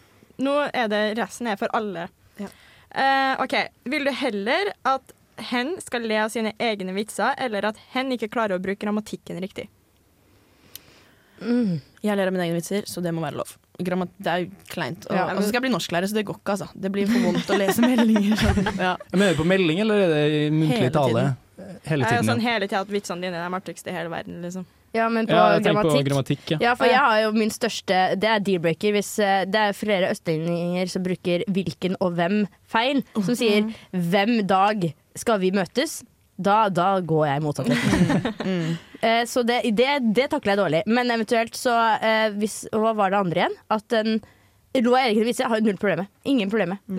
Nå er det resten er for alle.
Ja.
Eh, OK. Vil du heller at hen skal le av sine egne vitser, eller at hen ikke klarer å bruke grammatikken riktig?
Jeg ler av mine egne vitser, så det må være lov. Grammat det er jo kleint. Og,
Ja, men-
og så skal jeg bli norsklærer, så det går ikke, altså. Det blir for vondt å lese meldinger. sånn. Ja.
Jeg mener på melding, eller er det i muntlig
Hele
tale?
tiden.
Hele
Jeg er
tiden.
jo
ja.
sånn hele tida at vitsene dine er de artigste i hele verden, liksom.
Ja, men på
ja, jeg tenker på
grammatikk
grammatikk. Ja.
Ja, for jeg har jo min største Det er deal-breaker hvis eh, det er flere østlendinger som bruker hvilken og hvem feil. Som sier 'hvem dag skal vi møtes'? Da, da går jeg motsatt vei. Eh, Så det, det, det takler jeg dårlig. Men eventuelt så eh, hvis, og Hva var det andre igjen? At den Lo av egne vitser har jeg null problem med. Ingen problem med.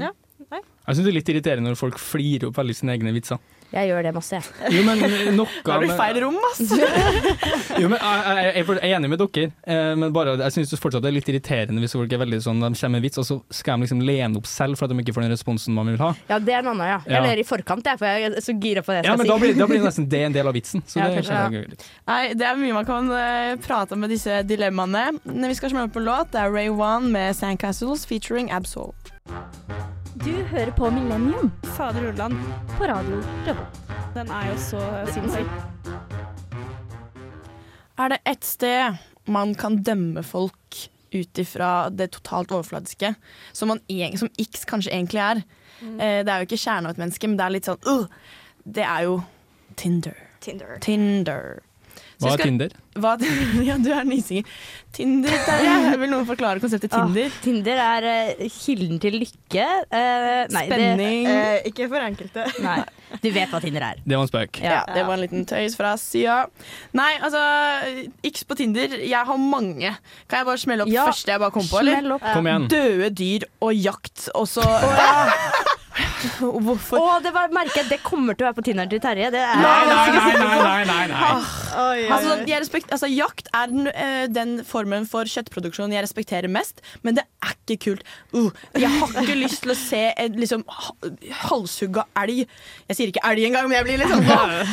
Jeg syns det er litt irriterende når folk flirer opp veldig sine egne vitser.
Jeg gjør det masse, jeg.
Jo, men noe
Da blir
med-
det feil rom, altså. ass.
Jo, men jeg, jeg, jeg er enig med dere, eh, men bare, jeg syns fortsatt det er litt irriterende hvis folk er veldig sånn, de kommer med en vits, og så skal de liksom lene opp selv for at de ikke får den responsen man vil ha.
Ja, det er en annen, ja.
Ja.
Jeg ler i forkant, jeg, for jeg er så gira på det jeg
Ja,
skal
men
si.
da blir, da blir nesten det en del av vitsen. Så
Ja,
det
kanskje,
skjønner jeg litt.
Nei, det er mye man kan eh, prate om med disse dilemmaene. Men Vi skal smelle på låt. Det er Ray Wan med Sandcastles featuring Absol.
Du hører på Millennium. Fader Ulland. På radio Revolt. Den er jo så sinnssyk.
Er det ett sted man kan dømme folk ut ifra det totalt overfladiske, som, man, eg- som X kanskje egentlig er? Eh, det er jo ikke kjernen av et menneske, men det er litt sånn uh, Det er jo Tinder.
Tinder.
Tinder. Så
Hva
jeg
er
skal-
Tinder?
Hva, ja, du er nysinger. Tinder, Terje. Vil noen forklare konseptet Tinder?
Ah, Tinder er eh, kilden til lykke. Eh, nei,
Spenning.
Eh, ikke for enkelte.
Det, nei, du vet hva Tinder er.
Det var en spøk.
Ja.
Ja, det var en liten tøys fra sida. Nei, altså, X på Tinder. Jeg har mange. Kan jeg bare smelle opp
Ja,
første jeg bare kom på? Eller?
Smell opp.
Kom igjen.
Døde dyr og jakt, og så Hvorfor?
Å, det var merket. Det kommer til å være på Tinderen til Terje. Det er
Nei, nei, nei, nei, nei, nei, nei.
Oi, oi,
Altså,
oi.
jeg respekt, altså, jakt er den, eh, den formen for kjøttproduksjon jeg respekterer mest, men det er ikke kult. Uh, jeg har ikke lyst til å se en liksom, ha- halshugga elg. Jeg sier ikke elg engang, men jeg blir litt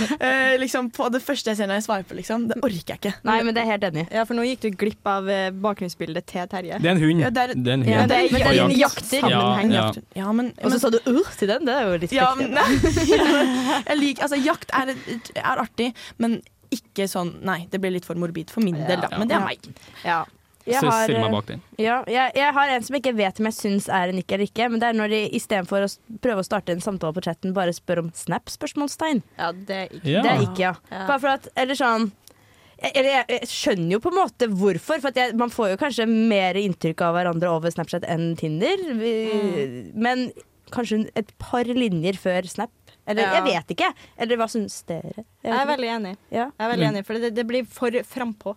sånn eh, liksom, På det første jeg ser når jeg sveiper, liksom. Det orker jeg ikke.
Nei, men det er jeg helt enig. i.
Ja, for nå gikk du glipp av eh, bakgrunnsbildet til Terje.
Det er en hund.
Ja, det er-
Det er en
Ja,
hund.
det er,
Men
det er
jakt.
en jakter.
Ja, ja. Altså,
Ja, men,
Og så
men
sa du urr til den. Det er jo litt
ja, men,
frekt.
nei, jeg liker, altså, Jakt er, er artig, men ikke sånn Nei, det blir litt for morbid for min del, da. Men det er meg.
Ja.
Jeg
Så jeg
har,
stiller
eh,
meg bak den.
Ja, jeg, jeg har en som jeg ikke vet om jeg syns er en ikke eller ikke. Men det er når de istedenfor å s- prøve å starte en samtale på chatten, bare spør om Snap? spørsmålstegn.
ja, det er ikke
Ja.
Det er ikke, ja.
Ja.
Bare for at, eller sånn jeg- eller jeg, jeg skjønner jo på en måte hvorfor, for at jeg, man får jo kanskje mer inntrykk av hverandre over Snapchat enn Tinder. Vi, Men kanskje et par linjer før Snap. Eller
Ja.
jeg vet ikke. Eller hva syns dere? Jeg
Jeg er
vet ikke.
veldig enig.
Ja,
Jeg er veldig
Mm.
enig, for det, det blir for frampå.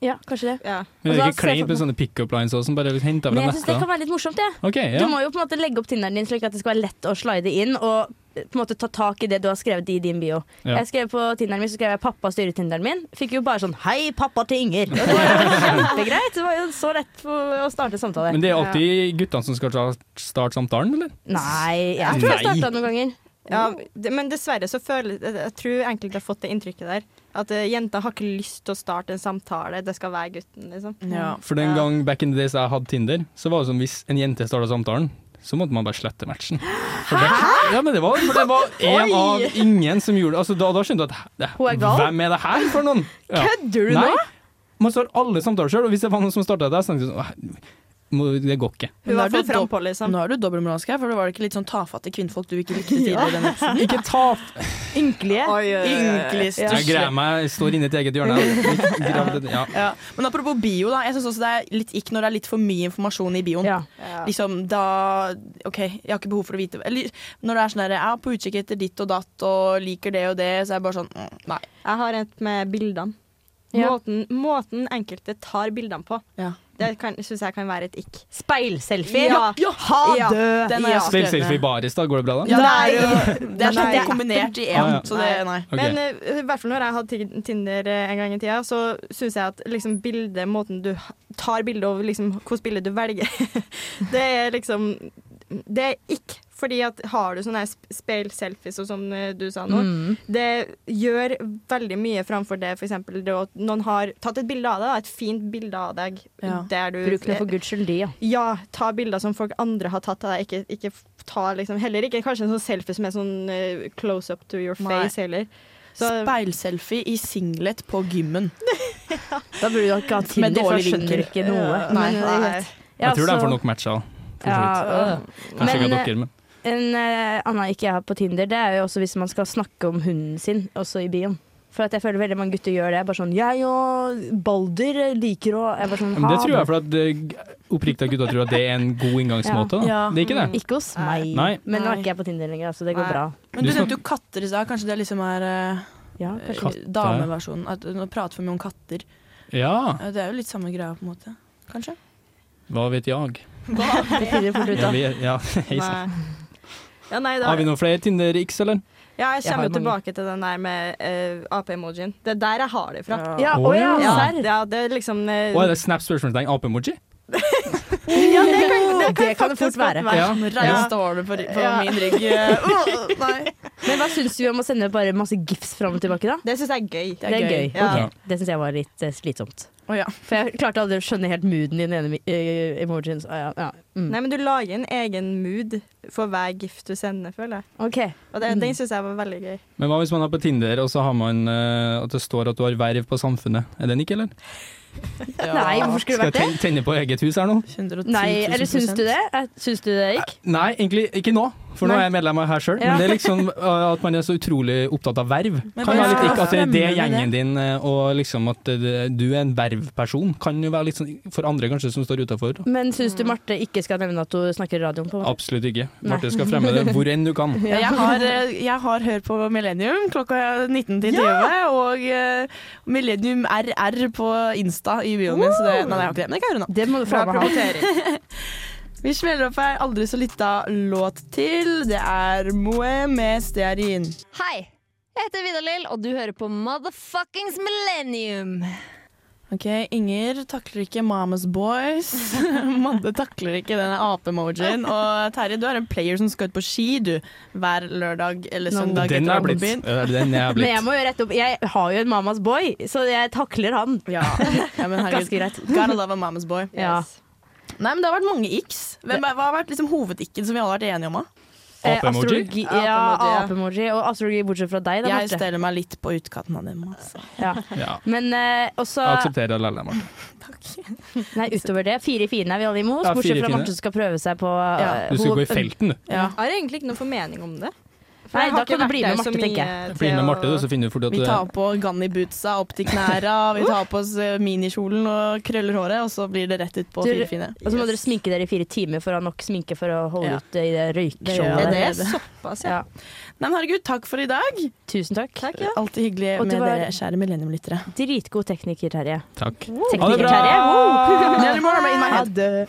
ja, kanskje det.
Ja.
Men det er
altså,
ikke
jeg ser
kleint
for
med sånne pick-up lines også, som bare henter
Men
fra
jeg syns det kan
neste.
være litt morsomt, jeg.
Ok,
Du
ja.
må jo på en måte legge opp Tinderen din slik at det skal være lett å slide inn og eh, på en måte ta tak i det du har skrevet i din bio.
Ja.
Jeg skrev på Tinderen min, så skrev jeg 'pappa styrer Tinderen min'. Fikk jo bare sånn 'hei, pappa til Inger'. Og det var jo kjempegreit. Det var jo så lett for å starte samtale.
Men det er alltid guttene som skal ta- starte samtalen, eller?
Nei, jeg tror jeg
Nei.
starta noen ganger.
Ja,
Mm.
det, men dessverre så føler jeg- Jeg tror enkelte har fått det inntrykket der. At eh, jenta har ikke lyst til å starte en samtale, det skal være gutten, liksom.
Ja.
For den gang back in the days jeg hadde Tinder, så var det som hvis en jente starta samtalen, så måtte man bare slette matchen. For det, ja, men det var, for det var en av ingen som gjorde det. Altså, da, da skjønte du at hæ, det,
Hun er gal.
hvem er det her for noen? Ja.
Kødder
Nei, man står alle samtaler sjøl, og hvis det var noen som starta der, så tenkte jeg sånn "Åh, må- Det går ikke.
Hun
Men
var
da er
for
du
frampå, liksom.
Nå er du dobbeltmoralsk her, for det var det ikke litt sånn tafatte kvinnfolk du ikke likte tidligere i denne episoden?
Ikke ta
Ynkelige.
Ynkelig
Jeg
stusslig.
greier meg, jeg står inne i et eget hjørne. Grav det- Ja.
Ja. Men apropos bio, da. Jeg syns også det er litt ikk når det er litt for mye informasjon i bioen.
Ja.
Ja.
Liksom, da OK, jeg har ikke behov for å vite Eller når det er sånn der Jeg er på utkikk etter ditt og datt og liker det og det, så er jeg bare sånn mm, Nei.
Jeg har et med bildene.
Ja.
Måten, måten enkelte tar bildene på.
Ja.
Det syns jeg kan være et ikk.
Speilselfie.
Ja.
Ha
Ja.
det!
Den er jeg
Spill
skrevet
selfie i
ned.
baris, da. Går det bra, da?
Ja, det er jo Det er, sånn,
Nei.
det er kombinert i
Ah,
én,
ja.
så det Nei.
Ok.
Men eh, i hvert fall når jeg hadde Tin- Tinder eh, en gang i tida, så syns jeg at liksom bildet, måten du h- tar bilde over, liksom hvilket bilde du velger, det er liksom Det er ikke fordi at har du sånne her sp- speil-selfies og som eh, du sa nå,
Mm.
det gjør veldig mye framfor det f.eks. det at noen har tatt et bilde av deg, da, et fint bilde av deg
Ja.
der du
Bruk det for guds skyld, de, ja.
ja, ta bilder som folk andre har tatt av deg. Ikke, ikke f- ta liksom, heller ikke kanskje en sånn selfie som er sånn eh, close up to your
Nei.
face heller. Så,
Speilselfie i singlet på gymmen.
Da burde du ikke ha
Med
Tinder, for
dårlig
da skjønner du
vinkel.
ikke noe.
Nei.
men, eh,
Nei.
Ja,
Jeg tror det er
så-
for nok matcher. for så vidt.
Ja, øh.
Kanskje ikke
Men,
dere, men
En uh, annen ikke jeg har på Tinder, det er jo også hvis man skal snakke om hunden sin, også i bioen. For at jeg føler veldig mange gutter gjør det. Bare sånn 'Jeg og Balder liker å jeg bare sånn,
Men det
ha
tror jeg, for at eh, oppriktig gutta tror at det er en god inngangsmåte. Da.
Ja.
Det er ikke det.
Ikke hos meg.
Nei.
Men nå
Nei.
er ikke jeg på Tinder lenger, så det går
Nei.
bra.
Men du
Du
nevnte jo katter i stad. Kanskje det liksom er eh,
Ja, kanskje.
Katter.
dameversjonen? At Nå prater for mye om katter.
Ja,
Ja, Det er jo litt samme greia, på en måte. Kanskje?
hva vet jeg?
Det finner fort ut
Ja,
av.
vi, ja, hei sann.
nei. Ja, nei, da,
Har vi noen flere Tinder-x, eller?
Ja, jeg kommer
Jeg har
jo
mange.
tilbake til den der med eh, AP-emojien. Det er der jeg har det fra.
Ja, å ja,
Å, ja.
serr.
Ja, det er liksom eh,
Og er det snap spørsmålstegn ape-emoji?
ja, det kan det, kan
Det kan det
faktisk
fort være.
Ja.
Reis dårlig på, på
Ja.
min rygg. Uh, nei.
Men hva syns du om å sende bare masse gifs fram og tilbake, da?
Det syns jeg er gøy.
Det er gøy.
Ja.
Ok, Det syns jeg var litt eh, slitsomt.
Å ja.
For jeg klarte aldri å skjønne helt mooden i den ene uh, emojien. så, Ja, ja. Mm.
Nei, men du lager en egen mood for hver gift du sender, føler jeg.
OK.
Og det,
Mm.
den syns jeg var veldig gøy.
Men hva hvis man er på Tinder, og så har man eh, at det står at du har verv på samfunnet? Er den ikke, eller?
Nei, hvorfor skulle
Skal
det
jeg
vært det?
ten- tenne på eget hus her nå?
110
Nei, eller syns du det? Eh, Syns du det gikk?
Nei, egentlig ikke nå, for nå
Nei.
er jeg medlem av her sjøl.
Ja.
Men det er liksom eh, at man er så utrolig opptatt av verv.
Men
Kan
hva
være litt
skal
ikke at det er det
fremme med
gjengen din, eh, og liksom at eh, du er en vervperson. Kan jo være litt sånn for andre kanskje som står utafor.
Men syns du Marte ikke skal nevne at hun snakker i radioen? på en måte?
Absolutt ikke.
Nei.
Marte skal fremme det hvor enn du kan.
Ja, Jeg har, eh, jeg har hør på Millennium klokka 19 til 20, og eh, Millennium RR på Insta i bioen min. Så det, nei, jeg har ikke det, men det kan jeg gjøre nå.
Det må du
Bra
faen meg ha.
promotering.
Vi smeller opp ei aldri så lita låt til. Det er Moe med stearin.
Hei! Jeg heter Vidar-Lill, og du hører på Motherfuckings Millennium.
Ok, Inger takler ikke Mamas Boys. Madde takler ikke denne ape-emojien. Og Terje, du er en player som skal ut på ski, du. Hver lørdag eller
Nå-
søndag.
Den
etter
er blitt.
arbeidsbyen.
Eh, Den er
Men jeg
blitt.
må jo rette opp. Jeg har jo en mamas boy, så jeg takler han.
Ja, ja men herregud.
Ganske greit.
Gotta love a mama's boy.
Ja.
Nei, men Det har vært mange x. Hvem, hva har vært liksom hovedikken som vi alle har vært enige om? da?
Eh,
Ape-emoji?
astrologi- Ja, ape-emoji. Og astrologi bortsett fra deg, da,
Jeg
Marte.
steller meg litt på utkanten av dem. Altså.
Ja.
Ja.
Men eh, også
Jeg aksepterer det likevel, Marte.
Nei, utover det. Fire i fine er vi alle imot,
Ja, fire i
bortsett fra
fine.
Marte som skal prøve seg på eh,
Du skal
hun-
gå i felten, du.
Ja.
Jeg har egentlig ikke noe formening om det. For
Nei,
jeg har
da
ikke
kan du
vært
bli med
der
Marte,
så mye
tenker
Bli med
til
Marte,
å-
du, så finner du fort at
Vi
du
tar på Ganni-bootsa opp til knæra, vi tar på oss eh, minikjolen og krøller håret, og så blir det rett ut på
Du-
firefine.
Og så må dere sminke dere i fire timer for å ha nok sminke for å holde
Ja.
ut i det
gjør jeg.
røykshowet.
Det
der.
er såpass, ja.
Ja.
Nei, men herregud, takk for i dag.
Tusen takk.
Alltid hyggelig
Og du
med
var-
dere, kjære millenniumlyttere.
Dritgod tekniker, Terje.
Takk. Ha det
Tekniker
bra!
Terje. Ah.
Ha det!